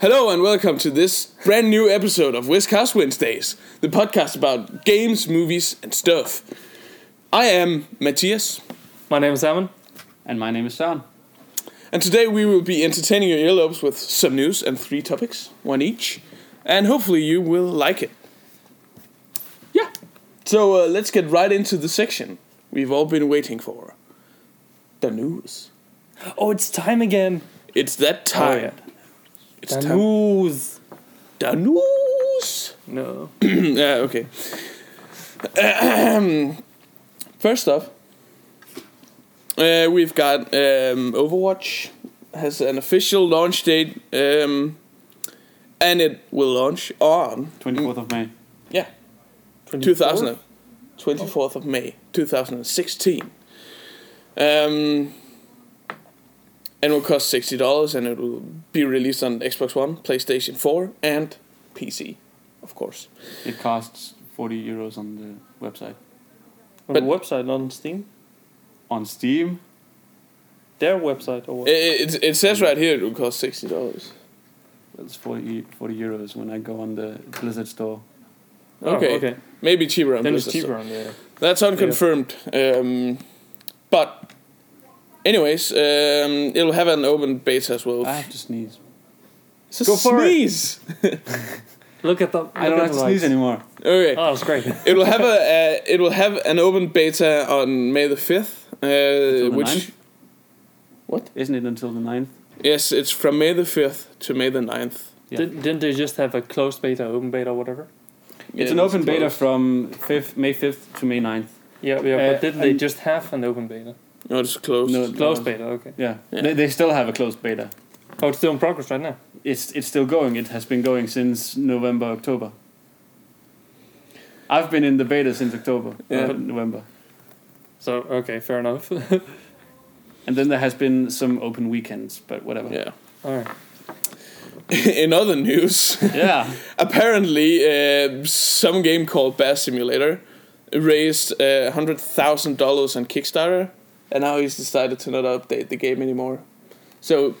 Hello and welcome to this brand new episode of Whizcast Wednesdays, the podcast about games, movies, and stuff. I am Matthias, My name is Simon. And my name is Sean. and today we will be entertaining your earlobes with some news and three topics, one each, and hopefully you will like it. Yeah, so uh, let's get right into the section we've all been waiting for the news. Oh, it's time again. It's that Oh, time. It's The time. news. The news. No. Yeah, okay. First up, uh, we've got um, Overwatch has an official launch date, um, and it will launch on 24th of May. yeah, 2000, 24th of May, 2016. Um, and Um, will cost sixty dollars, and it will be released on Xbox One, PlayStation Four, and PC, of course. It costs 40 euros on the website. On But- the website, not on Steam. On Steam, Their website or what? It, it, it says right here it will cost sixty dollars. it's 40, 40 euros when I go on the Blizzard store. Oh, okay. Maybe cheaper on Then it's Blizzard store. cheaper on the. That's unconfirmed. Um, but anyways, um, it'll have an open beta as well. I have to sneeze. It's a Go for it. sneeze. Look at the. I don't have to sneeze anymore. Okay. Uh. Oh, that's great. It will have a uh, it will have an open beta on May the fifth. Uh, the which 9th? what? Isn't it until the 9th? Yes, it's from May the fifth to May the 9th. Yeah. Did, didn't they just have a closed beta, open beta, whatever? it's an open beta from 5th, May 5th to May 9th. Yeah, yeah. Uh, but didn't they and- just have an open beta? No, it's closed. No. Closed beta. Okay. Yeah. Yeah. They, they still have a closed beta. Oh, it's still in progress right now. It's, it's still going. It has been going since November, October. I've been in the beta since October, Yeah. uh, November. So okay, fair enough. All And then there has been some open weekends, but whatever. Yeah. right. in other news. yeah. apparently uh, some game called Bear Simulator raised uh, $100,000 on Kickstarter and now he's decided to not update the game anymore. So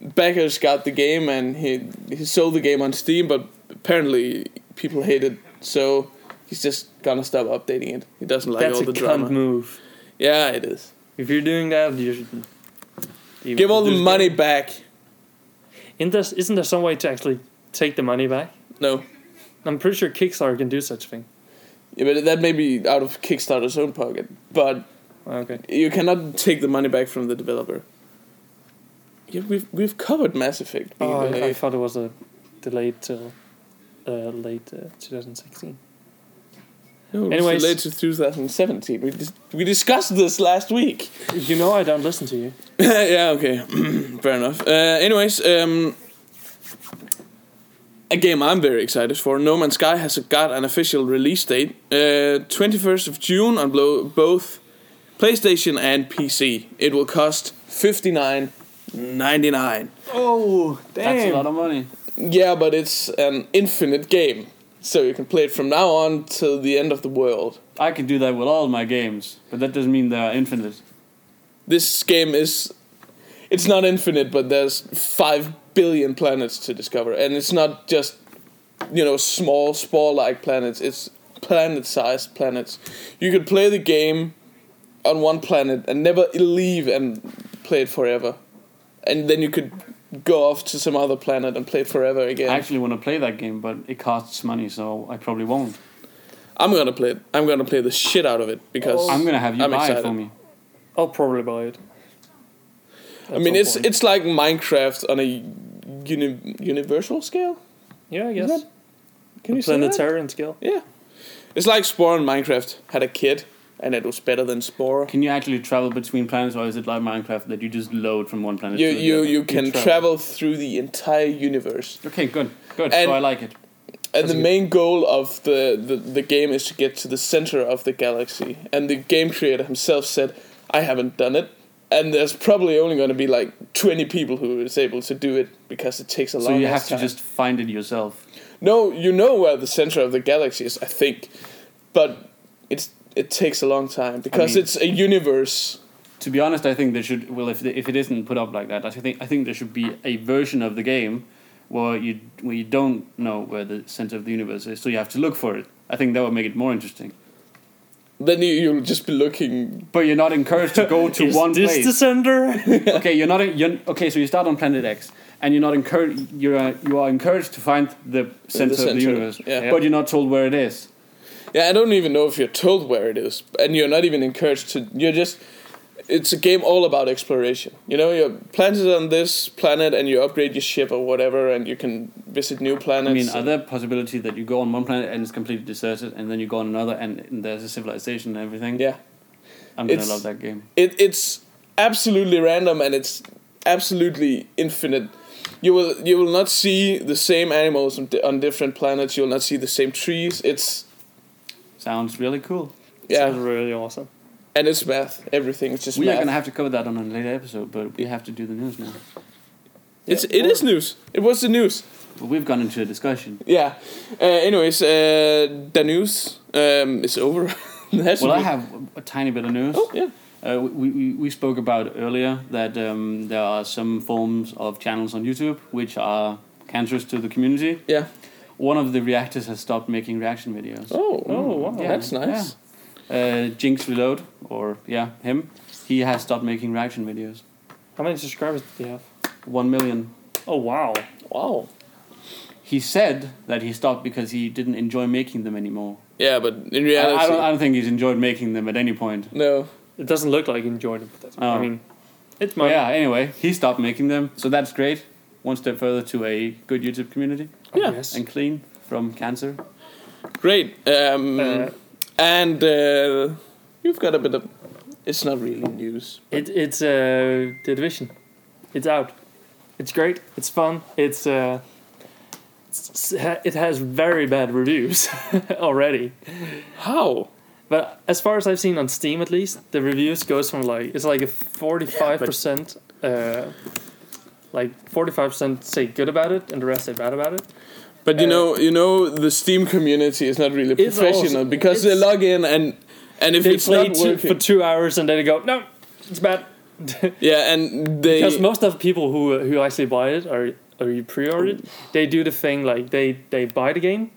backers got the game and he he sold the game on Steam but apparently people hate it so he's just gonna stop updating it. He doesn't like That's all the a cunt drama. move. Yeah, it is. If you're doing that, you should. even Give all the just- money back. Isn't there, isn't there some way to actually take the money back? No. I'm pretty sure Kickstarter can do such a thing. Yeah, but that may be out of Kickstarter's own pocket. But Okay. You cannot take the money back from the developer. Yeah, we've we've covered Mass Effect being Oh, I, I delayed. thought it was a delayed till uh, late uh, 2016. No, it was Anyways. delayed to 2017. We dis- we discussed this last week. You know I don't listen to you. yeah, okay, fair enough. Uh, anyways, um, a game I'm very excited for. No Man's Sky has got an official release date, uh, 21st of June on blo- both PlayStation and PC. It will cost 59.99. Oh, That's a damn. lot of money. Yeah, but it's an infinite game. So you can play it from now on till the end of the world. I can do that with all my games, but that doesn't mean they are infinite. This game is it's not infinite, but there's 5 billion planets to discover and it's not just you know small spore-like planets. It's planet-sized planets. You could play the game on one planet and never leave and play it forever. And then you could go off to some other planet and play it forever again. I actually want to play that game, but it costs money, so I probably won't. I'm gonna play it. I'm gonna play the shit out of it because I'm gonna have you I'm buy excited. it for me. I'll probably buy it. I mean it's it's like Minecraft on a uni- universal scale. yeah, I Is guess. that- Can you say that? Planetarian scale. Yeah, it's like Spore and Minecraft had a kid, and it was better than Spore. Can you actually travel between planets, or is it like Minecraft that you just load from one planet You to the you other? you can travel. travel through the entire universe, Okay, good, good. And- so I like it. and That's the good. main goal of the, the the game is to get to the center of the galaxy. And the game creator himself said, "I haven't done it." And there's probably only going to be like 20 people who is able to do it because it takes a So long you ass have to time. just find it yourself. No, you know where the center of the galaxy is, I think, but it's it takes a long time because mean- it's a universe. To be honest, I think there should well if if it isn't put up like that, I think I think there should be a version of the game where you where you don't know where the center of the universe is, so you have to look for it. I think that would make it more interesting. Then you, you'll just be looking. But you're not encouraged to go to Is one this place. the sender? okay, you're not. You're, okay, so you start on planet X, and you're not encouraged. You're uh, you are encouraged to find the center of center, the universe, yeah. but you're not told where it is. Yeah, I don't even know if you're told where it is, and you're not even encouraged to. You're just. It's a game all about exploration. You know, you're planted on this planet, and you upgrade your ship or whatever, and you can visit new planets. I mean, are there possibility that you go on one planet and it's completely deserted, and then you go on another and, and there's a civilization and everything? yeah, I'm gonna It's- love that game. it it's absolutely random and it's absolutely infinite. You will you will not see the same animals on, di- on different planets. You will not see the same trees. It's Sounds really cool. Sounds yeah, really awesome. and it's math. Everything is just we are math. gonna have to cover that on a later episode, but we have to do the news now. it's it is news. It was the news. But we've gone into a discussion. Yeah. Uh, anyways, uh, the news um, is over. That's Well, I it. have a- a tiny bit of news. Oh yeah. Uh, we, we, we spoke about earlier that um, there are some forms of channels on YouTube which are cancerous to the community. Yeah. One of the reactors has stopped making reaction videos. Oh. Oh, wow. Yeah, That's nice. Uh, Jinx Reload, or yeah, him, he has stopped making reaction videos. How many subscribers do you have? One million. Oh wow. Wow. He said that he stopped because he didn't enjoy making them anymore. Yeah, but in I- reality, I, don't, I don't think he's enjoyed making them at any point. no. It doesn't look like you enjoyed it, but that's, I Oh. mean, it's But my yeah, anyway, he stopped making them, so that's great. One step further to a good YouTube community Yeah. Yes. and clean from cancer. Great. Um, Uh, and uh, you've got a bit of. It's not really news. It, it's uh, the division. It's out. It's great. It's fun. It's uh, s- s- it has very bad reviews already. How? But as far as I've seen on Steam, at least the reviews goes from like it's like a forty five percent, uh, like forty five percent say good about it, and the rest say bad about it. But you Uh, know, you know, the Steam community is not really It's professional also- because they it's- log in and and if they it's play not two, for working, two hours and then they go no, it's bad. yeah, and they Because most of the people who who actually buy it or or you pre-order it, Oh. they do the thing like they they buy the game,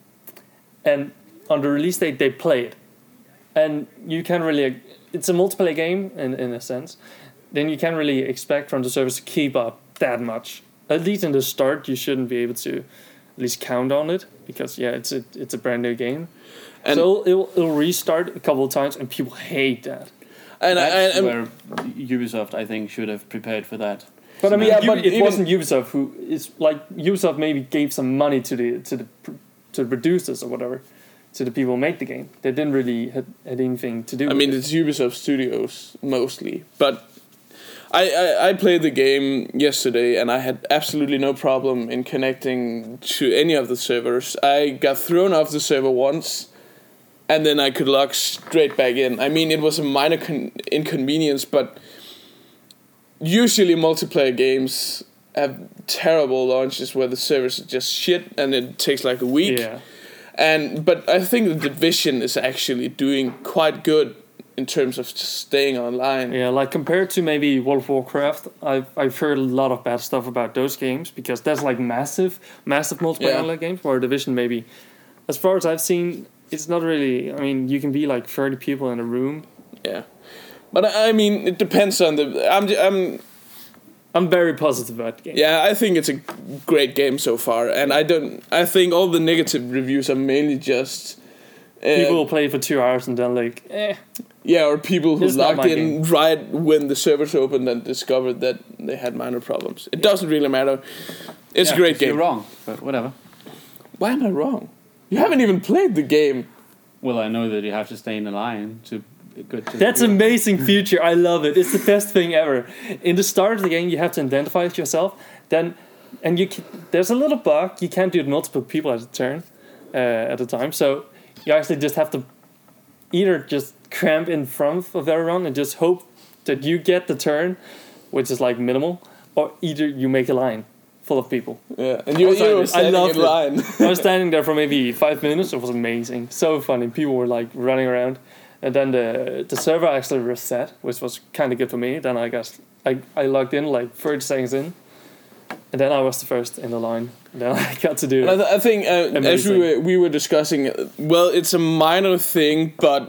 and on the release date they play it, and you can really it's a multiplayer game in in a sense. Then you can't really expect from the service to keep up that much. At least in the start, you shouldn't be able to at least count on it because yeah, it's a it's a brand new game. And- so it'll, it'll, it'll restart a couple of times, and people hate that. and I, That's I, I'm- where Ubisoft, I think, should have prepared for that. But I mean, Yeah, Ubi- but it even- wasn't Ubisoft who is like Ubisoft maybe gave some money to the to the pr- to the producers or whatever, to the people who made the game. They didn't really had, had anything to do. I with mean, it. it's Ubisoft Studios mostly, but I, I, I played the game yesterday and I had absolutely no problem in connecting to any of the servers. I got thrown off the server once, and then I could log straight back in. I mean, it was a minor con- inconvenience, but usually multiplayer games have terrible launches where the servers are just shit and it takes like a week yeah, and but I think the division is actually doing quite good in terms of just staying online. yeah. Like compared to maybe World of Warcraft, I've I've heard a lot of bad stuff about those games because that's like massive, massive multiplayer Yeah. online games. Where Division maybe, as far as I've seen, it's not really. I mean, you can be like thirty people in a room. Yeah. But I I mean, it depends on the. I'm. j- I'm. I'm very positive about the game. Yeah, I think it's a great game so far, and I don't. I think all the negative reviews are mainly just uh, People will play for two hours and then like, eh, Yeah, or people who It's not logged my in right when the servers opened and discovered that they had minor problems. It doesn't really matter. It's Yeah, a great if You're game. wrong, but whatever. Why am I wrong? You haven't even played the game. Well, I know that you have to stay in the line to get to. That's amazing feature. I love it. It's the best thing ever. In the start of the game, you have to identify it yourself. Then, and you can, there's a little bug. You can't do it multiple people at a turn, uh, at a time. So you actually just have to either just cramp in front of everyone and just hope that you get the turn, which is like minimal, or either you make a line full of people. Yeah, and you, Also, you I were standing loved in it. line. I was standing there for maybe five minutes. It was amazing, so funny. People were like running around, and then the the server actually reset, which was kind of good for me. Then I guess I I logged in like thirty seconds in, And then I was the first in the line. And then I got to do And I, it. th- I think uh, as we Amazing. were, we were discussing, uh, well, it's a minor thing, but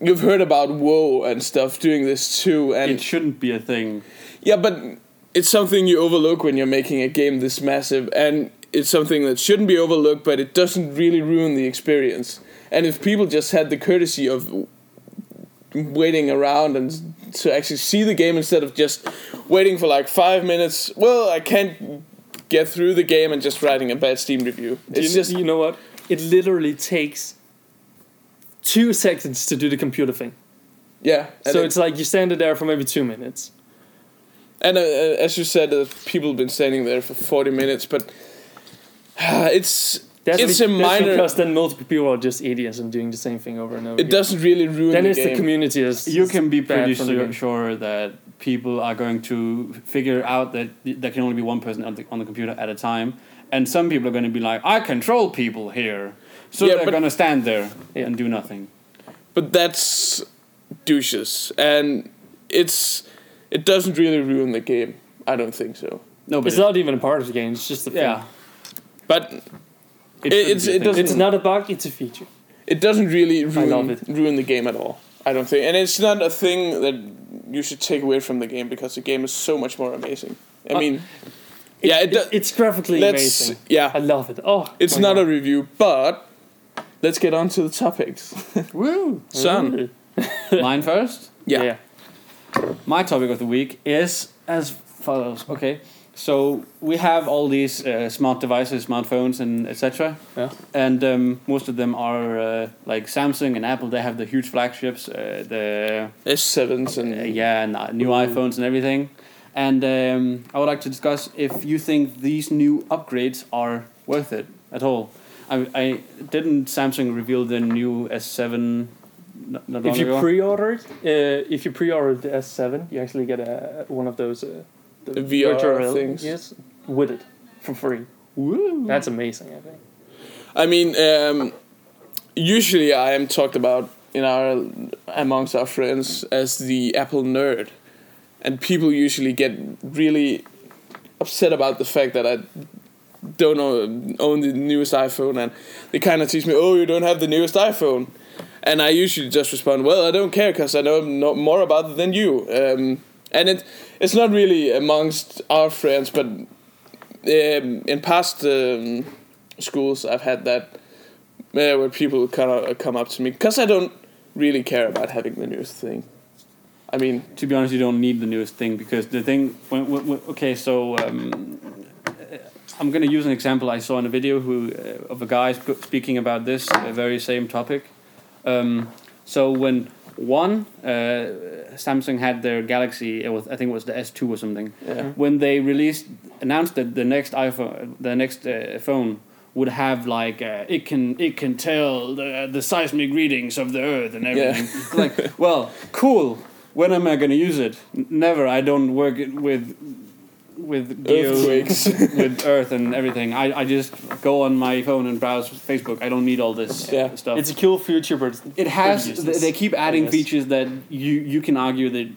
you've heard about Woe and stuff doing this too, and it shouldn't be a thing. yeah, but it's something you overlook when you're making a game this massive, and it's something that shouldn't be overlooked, but it doesn't really ruin the experience. And if people just had the courtesy of w- waiting around and s- to actually see the game instead of just waiting for like five minutes, well, I can't get through the game and just writing a bad Steam review. Do It's you, just do you know what? It literally takes two seconds to do the computer thing. Yeah. And so it- it's like you stand there for maybe two minutes. and uh, uh, as you said, uh, people have been standing there for forty minutes, but it's That's it's be- a that's minor. because then multiple people are just idiots and doing the same thing over and over. it doesn't really ruin Then the it's the game. community is. You can be bad pretty for the sure, game. sure that people are going to figure out that there can only be one person on the, on the computer at a time, and some people are going to be like, "I control people here," so Yeah, they're but- going to stand there Yeah. and do nothing. but that's douches, and it's it doesn't really ruin the game. I don't think so. No, but It's it- not even a part of the game. It's just a thing. yeah, But It- it, it's- shouldn't be a it thing. doesn't- It's not a bug. It's a feature. it doesn't really ruin love it. ruin the game at all. I don't think, and it's not a thing that you should take away from the game because the game is so much more amazing. I Uh, mean, yeah, it, do- it's graphically let's amazing. yeah, I love it. Oh, It's not a review, but let's get on to the topics. Woo! Son. Mine first. Yeah. My topic of the week is as follows. Okay, so we have all these uh, smart devices, smartphones, and etc. Yeah. And um, most of them are uh, like Samsung and Apple. They have the huge flagships, uh, the S7s and uh, yeah, and uh, new Mm-hmm. iPhones and everything. And um, I would like to discuss if you think these new upgrades are worth it at all. I, I didn't Samsung reveal the new S7 not, not long If you ago? pre-order it, uh, if you pre-order the S7, you actually get a one of those uh, the The VR virtual things. Yes, with it for free. Woo. That's amazing. I think. I mean, um, usually I am talked about in our amongst our friends as the Apple nerd, and people usually get really upset about the fact that I don't own, own the newest iPhone, and they kind of tease me, "Oh, you don't have the newest iPhone," and I usually just respond, "Well, I don't care because I know no more about it than you." Um, and it it's not really amongst our friends, but um, in past. Um, schools I've had that uh, where people kind of come up to me because I don't really care about having the newest thing. I mean, to be honest, you don't need the newest thing because the thing. When, when, when- okay, so um, uh, I'm going to use an example I saw in a video who uh, of a guy sp- speaking about this uh, very same topic. Um, so when one uh, Samsung had their Galaxy, it was I think it was the S2 or something. yeah, When they released announced that the next iPhone, the next uh, phone would have like uh, it can it can tell the, the seismic readings of the earth and Yeah. everything. like, well, cool. When am I gonna use it? N- Never. I don't work it with with geo- Earthquakes. with earth and everything. I, I just go on my phone and browse Facebook. I don't need all this Yeah. stuff It's a cool future, but it's- it has Pretty th- useless, they keep adding guess. features that you you can argue that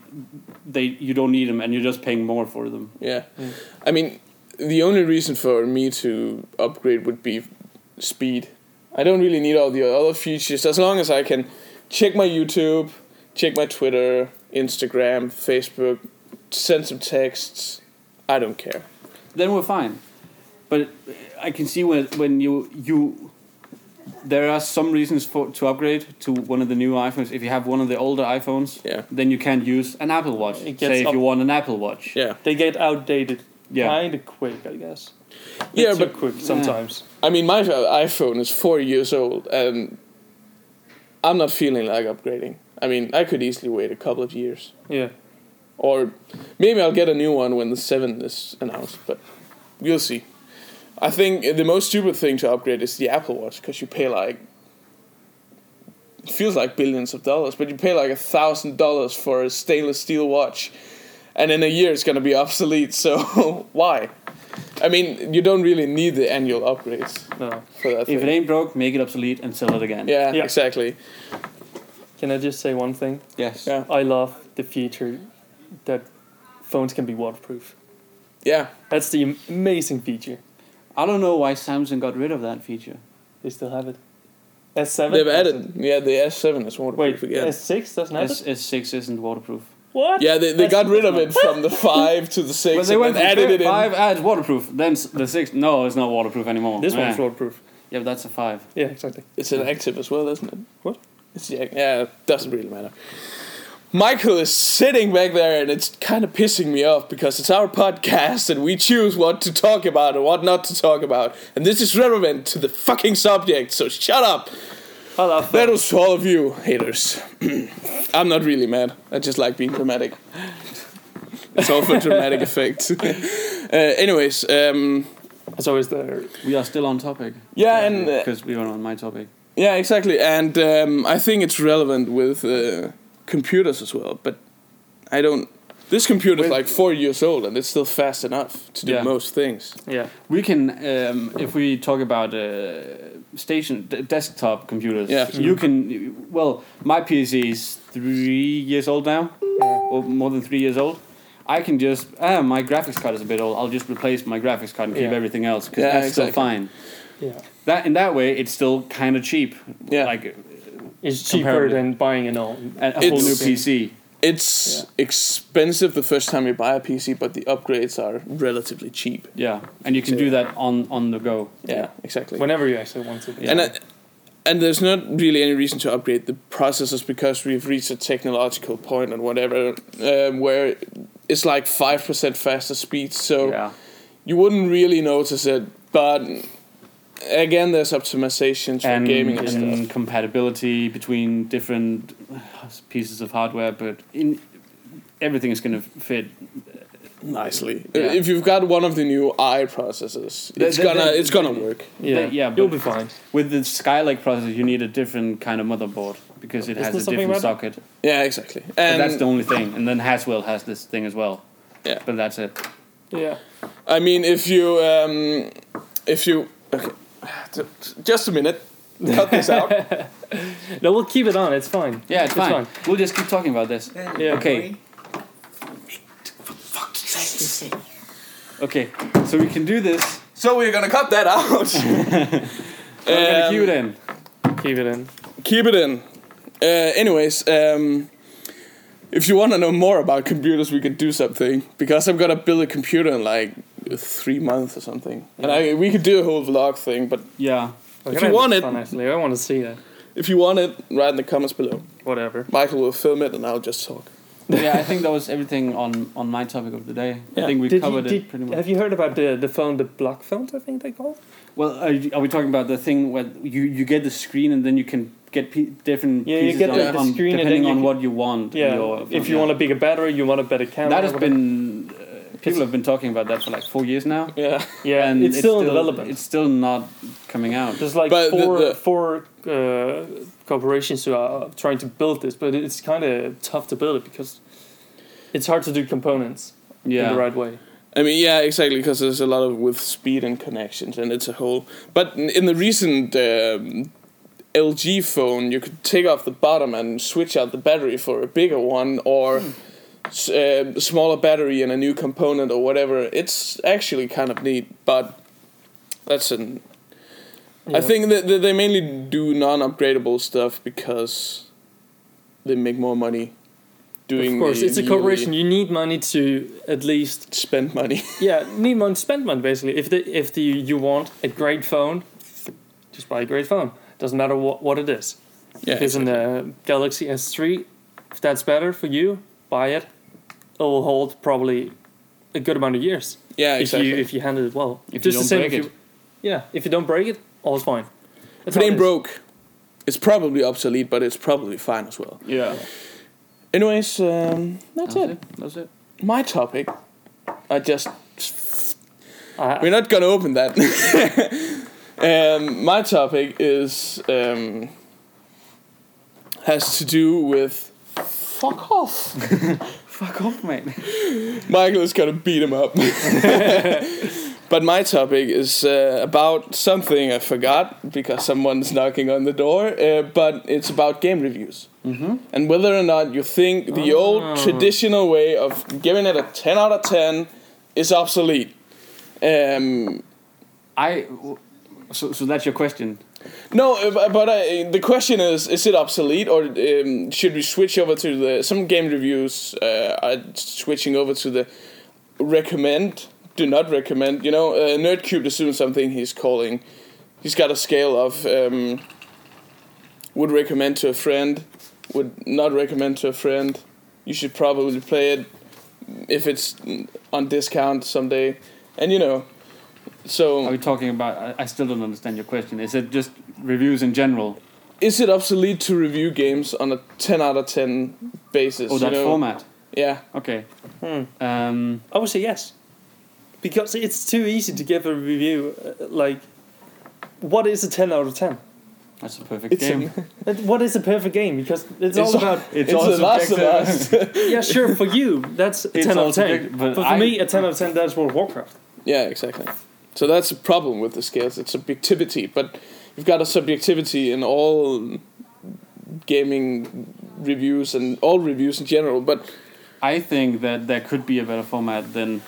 they you don't need them and you're just paying more for them yeah. Mm. I mean, the only reason for me to upgrade would be speed. I don't really need all the other features as long as I can check my YouTube, check my Twitter, Instagram, Facebook, send some texts. I don't care. then we're fine but i can see when when you you there are some reasons for to upgrade to one of the new iphones if you have one of the older iphones Yeah, then you can't use an apple watch It gets say if up- you want an apple watch yeah. they get outdated Yeah. kind of quick, I guess. Yeah, Bit too but- quick sometimes. I mean, my iPhone is four years old, and I'm not feeling like upgrading. I mean, I could easily wait a couple of years, Yeah. or maybe I'll get a new one when the seven is announced. But we'll see. I think the most stupid thing to upgrade is the Apple Watch because you pay like it feels like billions of dollars, but you pay like a thousand dollars for a stainless steel watch, and in a year it's gonna be obsolete. So why? I mean, you don't really need the annual upgrades No. for that. if thing. it ain't broke make it obsolete and sell it again Yeah, Yeah. exactly. Can I just say one thing? yes Yeah. I love the feature that phones can be waterproof. Yeah. That's the am- amazing feature. I don't know why Samsung got rid of that feature. They still have it. S7? They've added. Yeah, the S7 is Wait, waterproof again. S6 doesn't have S it? S six isn't waterproof. What? Yeah, they, they That's- got rid of it from the 5 to the 6 But they and went then from added it in. five ads waterproof. Then s- the six. No, it's not waterproof anymore. This one's yeah. waterproof. yeah, but that's a five. Yeah, exactly. It's an active as well, isn't it? What? It's the, ac- yeah, it doesn't really matter. Michael is sitting back there and it's kind of pissing me off because it's our podcast and we choose what to talk about and what not to talk about. And this is relevant to the fucking subject, so shut up. I love That that. was to all of you haters. I'm not really mad. I just like being dramatic. It's all for dramatic effect. uh, anyways, um, It's always the We are still on topic. yeah, and uh, because we were on my topic. Yeah, exactly, and um, I think it's relevant with uh, computers as well. But I don't. This computer's With- like four years old, and it's still fast enough to do Yeah. most things. yeah. We can, um, if we talk about uh, station d- desktop computers, Yeah. you can. Well, my PC is three years old now, or more than three years old. I can just ah, my graphics card is a bit old. I'll just replace my graphics card and keep Yeah. everything else because Yeah, that's still exactly. fine. Yeah. That in that way, it's still kind of cheap. Yeah. like It's cheaper Comparable. than buying an old. a, a whole new It's- PC. It's expensive the first time you buy a PC, but the upgrades are relatively cheap. Yeah, and you can do that on on the go. Yeah, exactly. Whenever you actually want to. Yeah. And I, and there's not really any reason to upgrade the processors because we've reached a technological point and whatever um, where it's like five percent faster speed. So. yeah. you wouldn't really notice it, but again, there's optimizations for and, gaming and and stuff. compatibility between different uh, pieces of hardware, but in everything is going to fit. Nicely, Yeah. Uh, if you've got one of the new i processors, They- it's they- gonna they- it's gonna they- work. Yeah, But- yeah, you'll but- be fine. With the Skylake processor, you need a different kind of motherboard because Isn't it there has a something different about socket. Yeah, exactly. But And that's the only thing. And then Haswell has this thing as well. Yeah. But that's it. Yeah. I mean, if you um, if you okay, just a minute, cut this out. No, we'll keep it on. It's fine. Yeah, it's, fine. fine. We'll just keep talking about this. Yeah. Okay. Okay. So we can do this. So we're gonna cut that out. We're going to Um, keep it in. Keep it in. keep it in. Uh, anyways, um, if you want to know more about computers, we could do something because I'm gonna build a computer in like three months or something, and I, we could do a whole vlog thing. But Yeah. If you want it- fun, actually. I want to see that. if you want it, write in the comments below. Whatever. Michael will film it, and I'll just talk. yeah, I think that was everything on, on my topic of the day. I Yeah. think we Did you- covered did- it pretty much. Have you heard about the, the phone, the block phones, I think they call it? Well, are, you- are we talking about the thing where you, you get the screen and then you can get pe- different Yeah, you pieces get on, the- the on- screen and then depending you on can- what you want? Yeah. your- if you yeah. want a bigger battery, you want a better camera. that has whatever. been uh, people have been talking about that for like four years now. Yeah, Yeah, and it's, still in development. It's still not coming out. There's like But the- four the- four uh, corporations who are trying to build this, but it's kind of tough to build it because it's hard to do components yeah, in the right way. I mean, yeah, exactly, because there's a lot of with speed and connections, and it's a whole. But in- in the recent. Um, LG phone, you could take off the bottom and switch out the battery for a bigger one, or Hmm. s- uh, smaller battery and a new component or whatever. It's actually kind of neat, but that's an. Yeah. I think that that they mainly do non-upgradable stuff because they make more money. Doing Of course, the it's a yearly corporation. You need money to at least Spend money. yeah need money, spend money basically. If the if the you want a great phone, just buy a great phone. Doesn't matter what what it is. yeah, if it's in the Galaxy S3, if that's better for you, buy it. It will hold probably a good amount of years. yeah, exactly. if you if you handle it well. Just If you the don't same break if you, Yeah, if you don't break it, all's fine. if That's it how ain't is. broke, it's probably obsolete, but it's probably fine as well. yeah. Anyways, um, that's, That's it. it. That's it. My topic. I just I, we're not gonna open that. um, my topic is um, has to do with fuck off. Fuck off, mate. Michael is gonna beat him up. but my topic is uh, about something I forgot because someone's knocking on the door. Uh, but it's about game reviews mm-hmm. and whether or not you think the old Oh. traditional way of giving it a 10 out of 10 is obsolete. Um, I. So, so that's your question. no, uh, bu- but I, the question is: Is it obsolete, or um, should we switch over to the? Some game reviews uh, are switching over to the recommend, do not recommend. You know, uh, Nerdcube is doing something. He's calling. He's got a scale of um, would recommend to a friend, would not recommend to a friend. You should probably play it if it's on discount someday, and you know. So Are we talking about? I, I still don't understand your question. Is it just reviews in general is it obsolete to review games on a 10 out of 10 basis or you Oh, that know? format? yeah Okay. Hmm. Um, I would say yes, because it's too easy to give a review. uh, Like, what is a ten out of ten? that's a perfect game. a, What is a perfect game? Because It's it's, all all- about it's the last of us yeah, sure. For you, that's a It's ten out all of ten. subjective, But, but for I- me, a ten out of ten that's World of Warcraft. yeah exactly so that's a problem with the scales it's subjectivity but you've got a subjectivity in all gaming reviews and all reviews in general but I think that there could be a better format than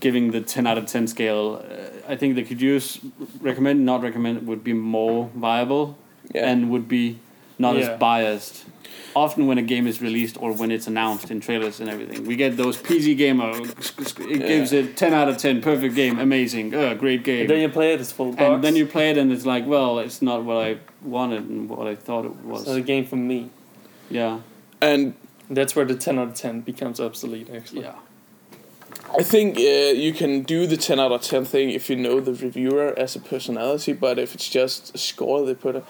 giving the 10 out of 10 scale. Uh, I think they could use recommend, not recommend would be more viable yeah and would be not Yeah. as biased. Often, when a game is released or when it's announced in trailers and everything, we get those PG gamer. It gives it 10 out of 10, perfect game, amazing, uh, great game. And then you play it. It's full of bugs. and then you play it, and it's like, well, it's not what I wanted and what I thought it was. It's a game for me. yeah, and That's where the ten out of ten becomes obsolete. Actually, yeah. I think uh, you can do the 10 out of 10 thing if you know the reviewer as a personality, but if it's just a score they put up.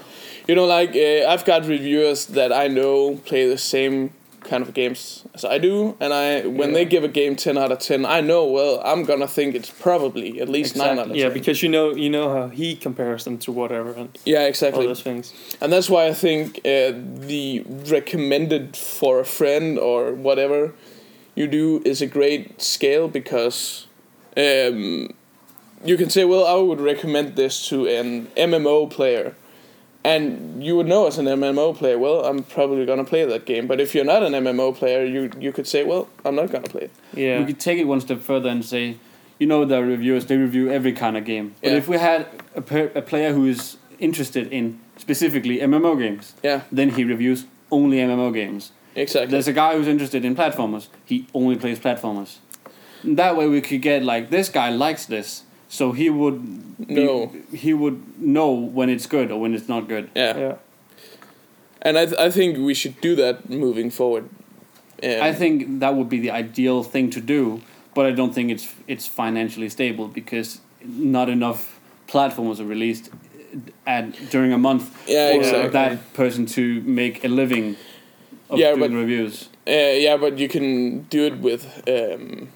You know, like, uh, I've got reviewers that I know play the same kind of games as I do, and I when they give a game 10 out of 10, I know, well, I'm gonna think it's probably at least 9 out of yeah, 10. because you know you know how he compares them to whatever and Yeah, all exactly. those things. And that's why I think uh, the recommended for a friend or whatever you do is a great scale because um, you can say, well, I would recommend this to an MMO player. And you would know as an MMO player, well, I'm probably going to play that game. But if you're not an MMO player, you, you could say, well, I'm not going to play it. Yeah, we could take it one step further and say, you know, the reviewers they review every kind of game. But Yeah. if we had a, per- a player who is interested in specifically MMO games, Yeah, then he reviews only MMO games. exactly. There's a guy who's interested in platformers. He only plays platformers. That way, we could get like this guy likes this, so he would be- No. he would know when it's good or when it's not good. Yeah. yeah. And I, th- I think we should do that moving forward. Um, I think that would be the ideal thing to do, but I don't think it's it's financially stable because not enough platforms are released at during a month Yeah, for exactly. that person to make a living of Yeah, doing but- reviews. Uh, yeah, but you can do it with. Um,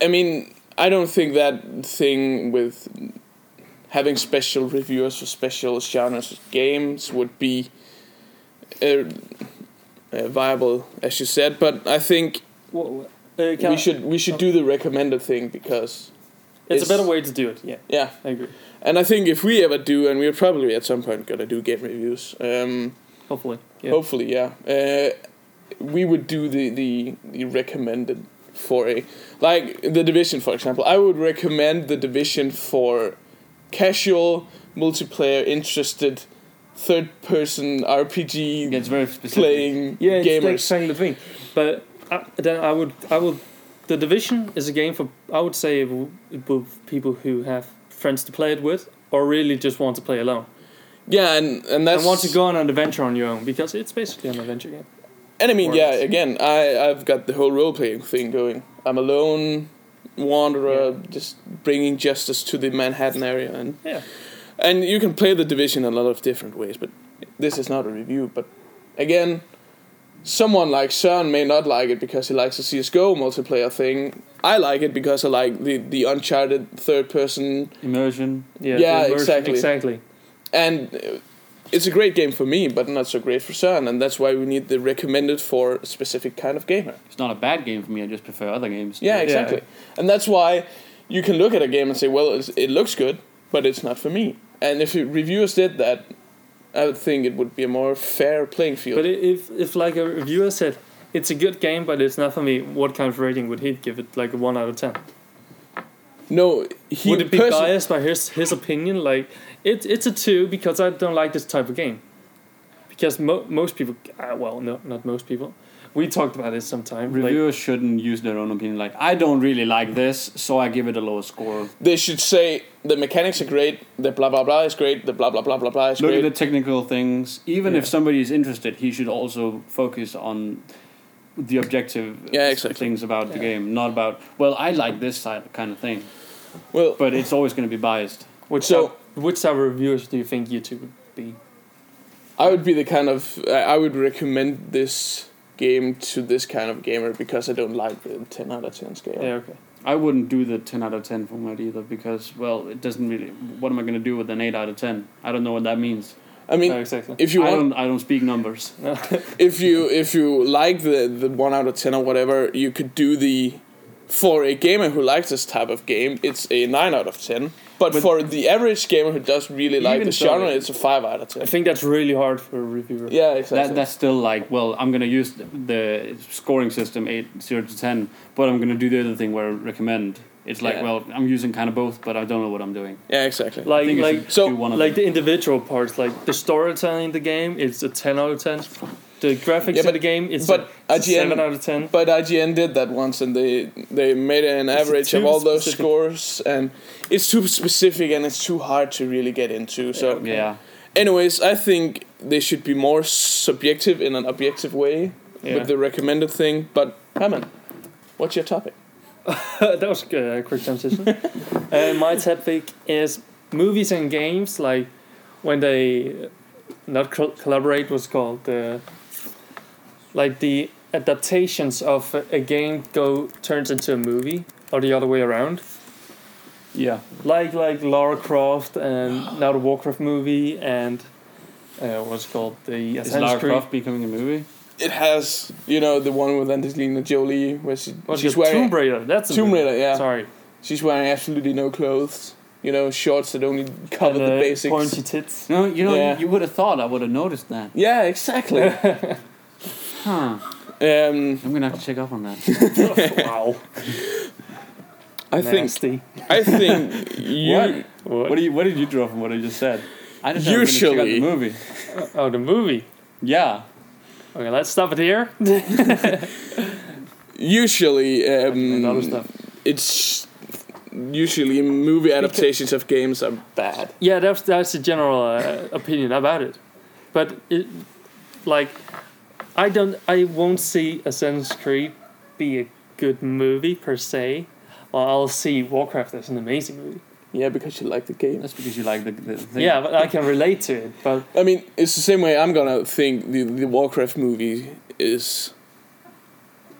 I mean, I don't think that thing with having special reviewers for special genres of games would be uh, uh, viable, as you said. But I think Well, uh, can I- we should we should do the recommended thing because It's is- a better way to do it. Yeah, yeah, I agree. and I think if we ever do, and we're probably at some point gonna do game reviews. Um, Hopefully, yeah. Hopefully, yeah. Uh, we would do the, the, the recommended for a like the division for example. I would recommend the division for casual multiplayer interested third person RPG It's very specific. playing Yeah, it's like gamers. saying the thing. But I, then I would, I would, the division is a game for I would say w- both people who have friends to play it with, or really just want to play alone yeah, and and that's and want to go on an adventure on your own because it's basically an adventure game. And I mean, Or yeah, it's- again, I, I've got the whole role playing thing going. I'm a lone wanderer, Yeah. just bringing justice to the Manhattan area. And, Yeah. and you can play the division a lot of different ways, but this is not a review. But again, someone like Søren may not like it because he likes the CSGO multiplayer thing. I like it because I like the, the uncharted third person Immersion. Yeah, the Yeah, immersion- exactly. Exactly. and uh, it's a great game for me, but not so great for Søren, and that's why we need the recommended for a specific kind of gamer. It's not a bad game for me. I just prefer other games. Yeah, Yeah. exactly. And that's why you can look at a game and say, well, it's, it looks good, but it's not for me. And if reviewers did that, I would think it would be a more fair playing field. But i- if if like a reviewer said, it's a good game, but it's not for me. What kind of rating would he give it? Like a one out of ten? No, he would it be perso- biased by his his opinion? Like it, it's a two because I don't like this type of game. Because mo- most people, uh, well, no, not most people. We talked about it sometime. Like, Reviewers shouldn't use their own opinion. Like, I don't really like this, so I give it a lower score. They should say the mechanics are great, the blah blah blah is great, the blah blah blah blah blah is Look great. at the technical things. Even Yeah. if somebody is interested, he should also focus on the objective uh, Yeah, exactly. things about the Yeah. game, not about well, I like this side kind of thing. well, But it's always going to be biased. which So- type, which type of reviewers do you think you two would be? I would be the kind of I I would recommend this game to this kind of gamer because I don't like the ten out of ten scale. Yeah, okay. I wouldn't do the ten out of ten format either because well, it doesn't really. What am I going to do with an eight out of ten? I don't know what that means. I mean, no, exactly. if you I want, don't. I don't speak numbers. if you if you like the the one out of ten or whatever, you could do the for a gamer who likes this type of game, it's a nine out of ten. But, But- for the average gamer who does really like Even the so, genre, it- it's a five out of ten. I think that's really hard for a reviewer. yeah, exactly. That, that's still like well, I'm going to use the scoring system eight zero to ten, but I'm going to do the other thing where I recommend. It's like Yeah. well, I'm using kind of both, but I don't know what I'm doing. yeah, exactly. I Like think you like should so, do one of like them. the individual parts, like the storytelling in the game, it's a ten out of ten. The graphics Yeah, but- in the game, it's, but a, it's a IGN seven out of ten. But IGN did that once, and they they made an It's average of too all those specific. scores, and it's too specific and it's too hard to really get into. So, okay. yeah, anyways, I think they should be more subjective in an objective way Yeah. with the recommended thing. But Hammond, what's your topic? that was a quick transition. uh, my topic is movies and games, like when they uh, not col- collaborate was called uh, like the adaptations of a- a game go turns into a movie or the other way around. yeah. like like Lara Croft and now the Warcraft movie and uh, what's it called the Is Assassin's Lara Creed. Croft becoming a movie? It has you know the one with Angelina Jolie where she, What's she's it called? wearing Tomb Raider. That's a Tomb movie. Raider, yeah. Sorry, she's wearing absolutely no clothes. You know, shorts that only cover And, the uh, basics. Pointy tits. No, you know, Yeah. you would have thought I would have noticed that. Yeah, exactly. Huh. um, I'm gonna have to check up on that. wow, I think nasty. I think you. What? What? what do you? What did you draw from what I just said? I just check out Usually- the movie. Oh, the movie. Yeah. Okay, let's stop it here. usually And other um, stuff. it's usually movie adaptations of games are bad Yeah, that's that's the general uh, opinion about it, but it, like, I don't, I won't see Assassin's Creed be a good movie per se. Or I'll see Warcraft as an amazing movie. yeah because you like the game That's because you like the, the thing. Yeah, but I can relate to it. But i mean it's the same way i'm gonna think the, the warcraft movie is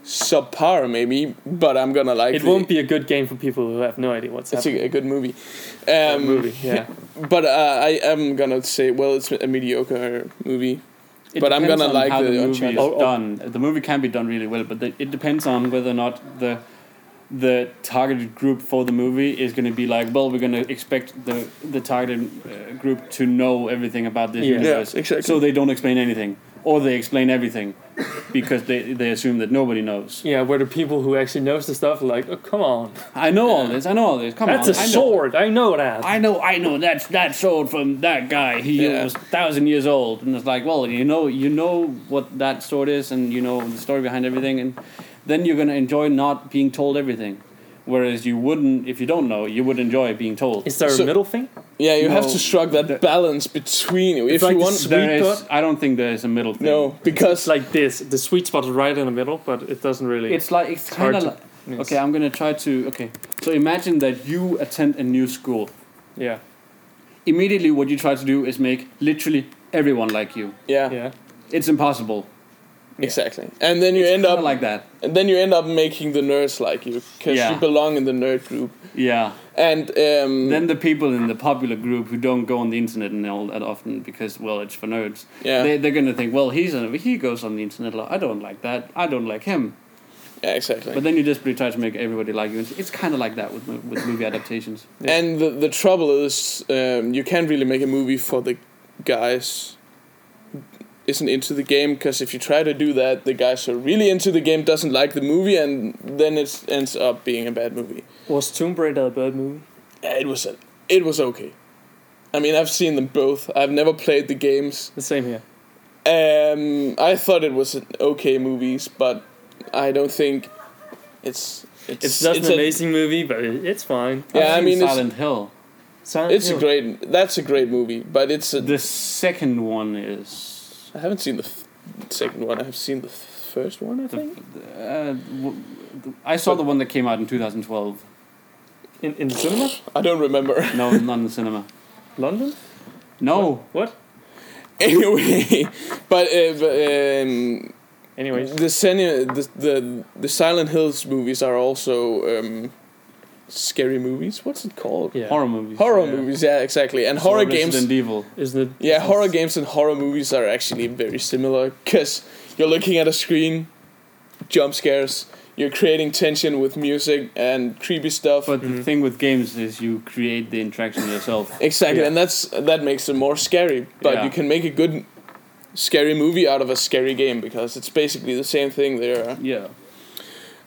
subpar maybe but i'm gonna like it the- won't be a good game for people who have no idea what's it's happening. a, a good movie in um, the movie, yeah. but uh, i am gonna say well it's a mediocre movie It But I'm depends gonna on like how the the movie Uncharted. is Oh, oh. done. The movie can be done really well, but the, it depends on whether or not the the targeted group for the movie is going to be like, well, we're going to expect the the targeted uh, group to know everything about this Yeah. Yeah, universe, exactly. so they don't explain anything, or they explain everything because they they assume that nobody knows. Yeah, where the people who actually knows the stuff are like, oh come on, I know all this. I know all this. Come that's on, a I know- sword. I know that. I know, I know. That's that sword from that guy. He Yeah. was thousand years old, and it's like, well, you know, you know what that sword is, and you know the story behind everything, and then you're gonna enjoy not being told everything, whereas you wouldn't if you don't know. You would enjoy being told. Is there So- a middle thing? yeah you have No, to strike that the- balance between if like you the want sweet there spot? is. I don't think there is a middle thing. no because It's like this. The sweet spot is right in the middle, but it doesn't really. It's like it's hard kind of. to- Like, Okay, I'm gonna try to. Okay, so imagine that you attend a new school. yeah, Immediately, what you try to do is make literally everyone like you. yeah. It's impossible. Exactly, and then you end Kinda up like that. and then you end up making the nerds like you because Yeah. you belong in the nerd group. Yeah. And um, Then the people in the popular group who don't go on the internet and all that often because well it's for nerds. yeah, They they're gonna think well he's an, he goes on the internet a lot. I don't like that. I don't like him. yeah, exactly. But then you desperately try to make everybody like you. It's, it's kind of like that with mo- with movie adaptations. yeah. And the the trouble is, um, you can't really make a movie for the guys isn't into the game because if you try to do that, the guys who are really into the game doesn't like the movie, and then it ends up being a bad movie. Was Tomb Raider a bad movie? Yeah, It was a, it was okay. I mean, I've seen them both. I've never played the games. The same here. Um, I thought it was an okay movies, but I don't think it's it's It's not it's an a- amazing movie, but it, it's fine. Yeah, I I've seen mean, it's- Silent Hill. Silent It's a Hill. great. That's a great movie, but it's a. The second one is. I haven't seen the th- second one. I've seen the first one. I Hmm. The, think. uh, w- the- I saw the one that came out in 2012. in in the cinema, I don't remember. No, not in the cinema. London. No. What? anyway, but, uh, but um, Anyways, the, Senya, the the the Silent Hills movies are also um, scary movies. What's it called? yeah. Horror movies. Horror Yeah. movies. Yeah, exactly. And So horror Resident games. Evil. Isn't it? Yeah, horror games and horror movies are actually very similar because you're looking at a screen, jump scares, you're creating tension with music and creepy stuff. But the Mhm. thing with games is you create the interaction yourself. exactly, Yeah. and that's that makes it more scary. But Yeah. you can make a good scary movie out of a scary game because it's basically the same thing there. Yeah.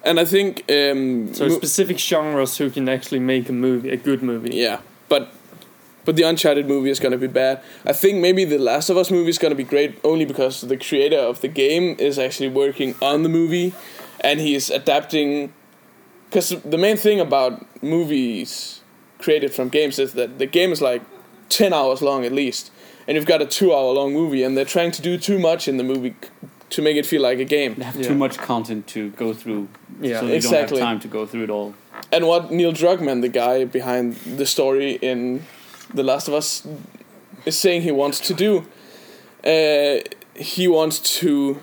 And I think um, So mo- specific genres who can actually make a movie, a good movie. yeah, but but the Uncharted movie is gonna be bad. I think maybe the Last of Us movie is gonna be great only because the creator of the game is actually working on the movie, and he is adapting. Because the main thing about movies created from games is that the game is like ten hours long at least, and you've got a two-hour-long movie, and they're trying to do too much in the movie c- to make it feel like a game. They have Yeah. too much content to go through. Yeah. So you Exactly. don't have time to go through it all. And what Neil Druckmann, the guy behind the story in The Last of Us, is saying he wants to do, uh, he wants to.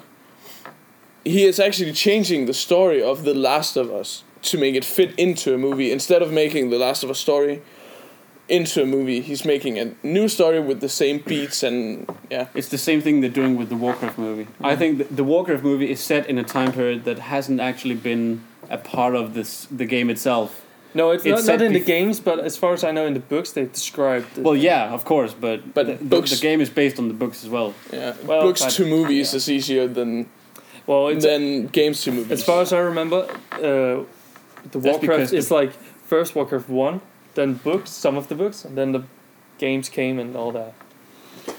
He is actually changing the story of The Last of Us to make it fit into a movie. Instead of making The Last of Us story into a movie, he's making a new story with the same beats and yeah, It's the same thing they're doing with the Warcraft movie. I Mm-hmm. think th- the Warcraft movie is set in a time period that hasn't actually been a part of this the game itself. No, it's, It's not, set not in the bef- games, but as far as I know, in the books they described. it. Well, yeah, of course, but Mm-hmm. But the, the- books- the game is based on the books as well. yeah. Well, Books but- to movies yeah. is easier than well, it's, than games to movies. as far as I remember, uh, the because Warcraft the- is like first Warcraft one, then books, some of the books, and then the games came and all that.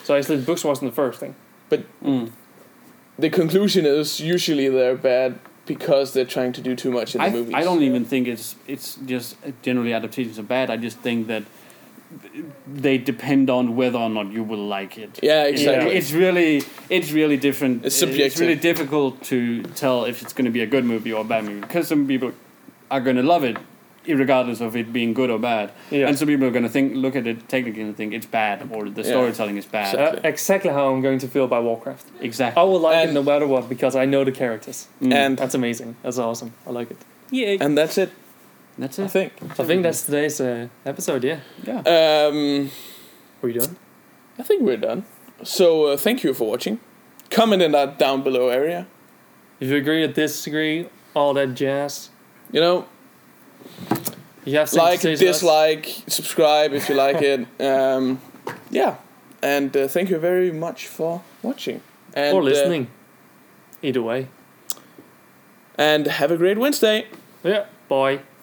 So actually, the books wasn't the first thing. Mm. the conclusion is usually they're bad because they're trying to do too much in the I, movies. I don't even think it's it's just generally adaptations are bad. I just think that they depend on whether or not you will like it. Yeah, exactly. It's really it's really different. It's It's really difficult to tell if it's going to be a good movie or a bad movie because some people are going to love it, regardless of it being good or bad, Yeah. and some people are going to think look at it technically and think it's bad or the Yeah. storytelling is bad. So- Uh, exactly how I'm going to feel about Warcraft. I exactly. will like it And- no matter what because I know the characters. Mm. and That's amazing. That's awesome. I like it. and that's it. that's I it. think. I think that's today's uh, episode. Yeah. yeah. Um, Were you done? I think we're done. So uh, thank you for watching. Comment in that down below area. If you agree or disagree, all that jazz. You know, You have something like, to say to us? dislike, subscribe if you like it. Um, yeah, and uh, thank you very much for watching and or uh, listening. Either way. and uh, have a great Wednesday. Yeah. Bye.